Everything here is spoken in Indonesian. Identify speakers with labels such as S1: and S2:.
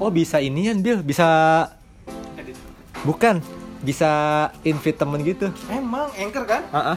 S1: Oh bisa inian Bill, bisa bukan bisa invite temen gitu.
S2: Emang anchor kan?
S1: Ah, ah.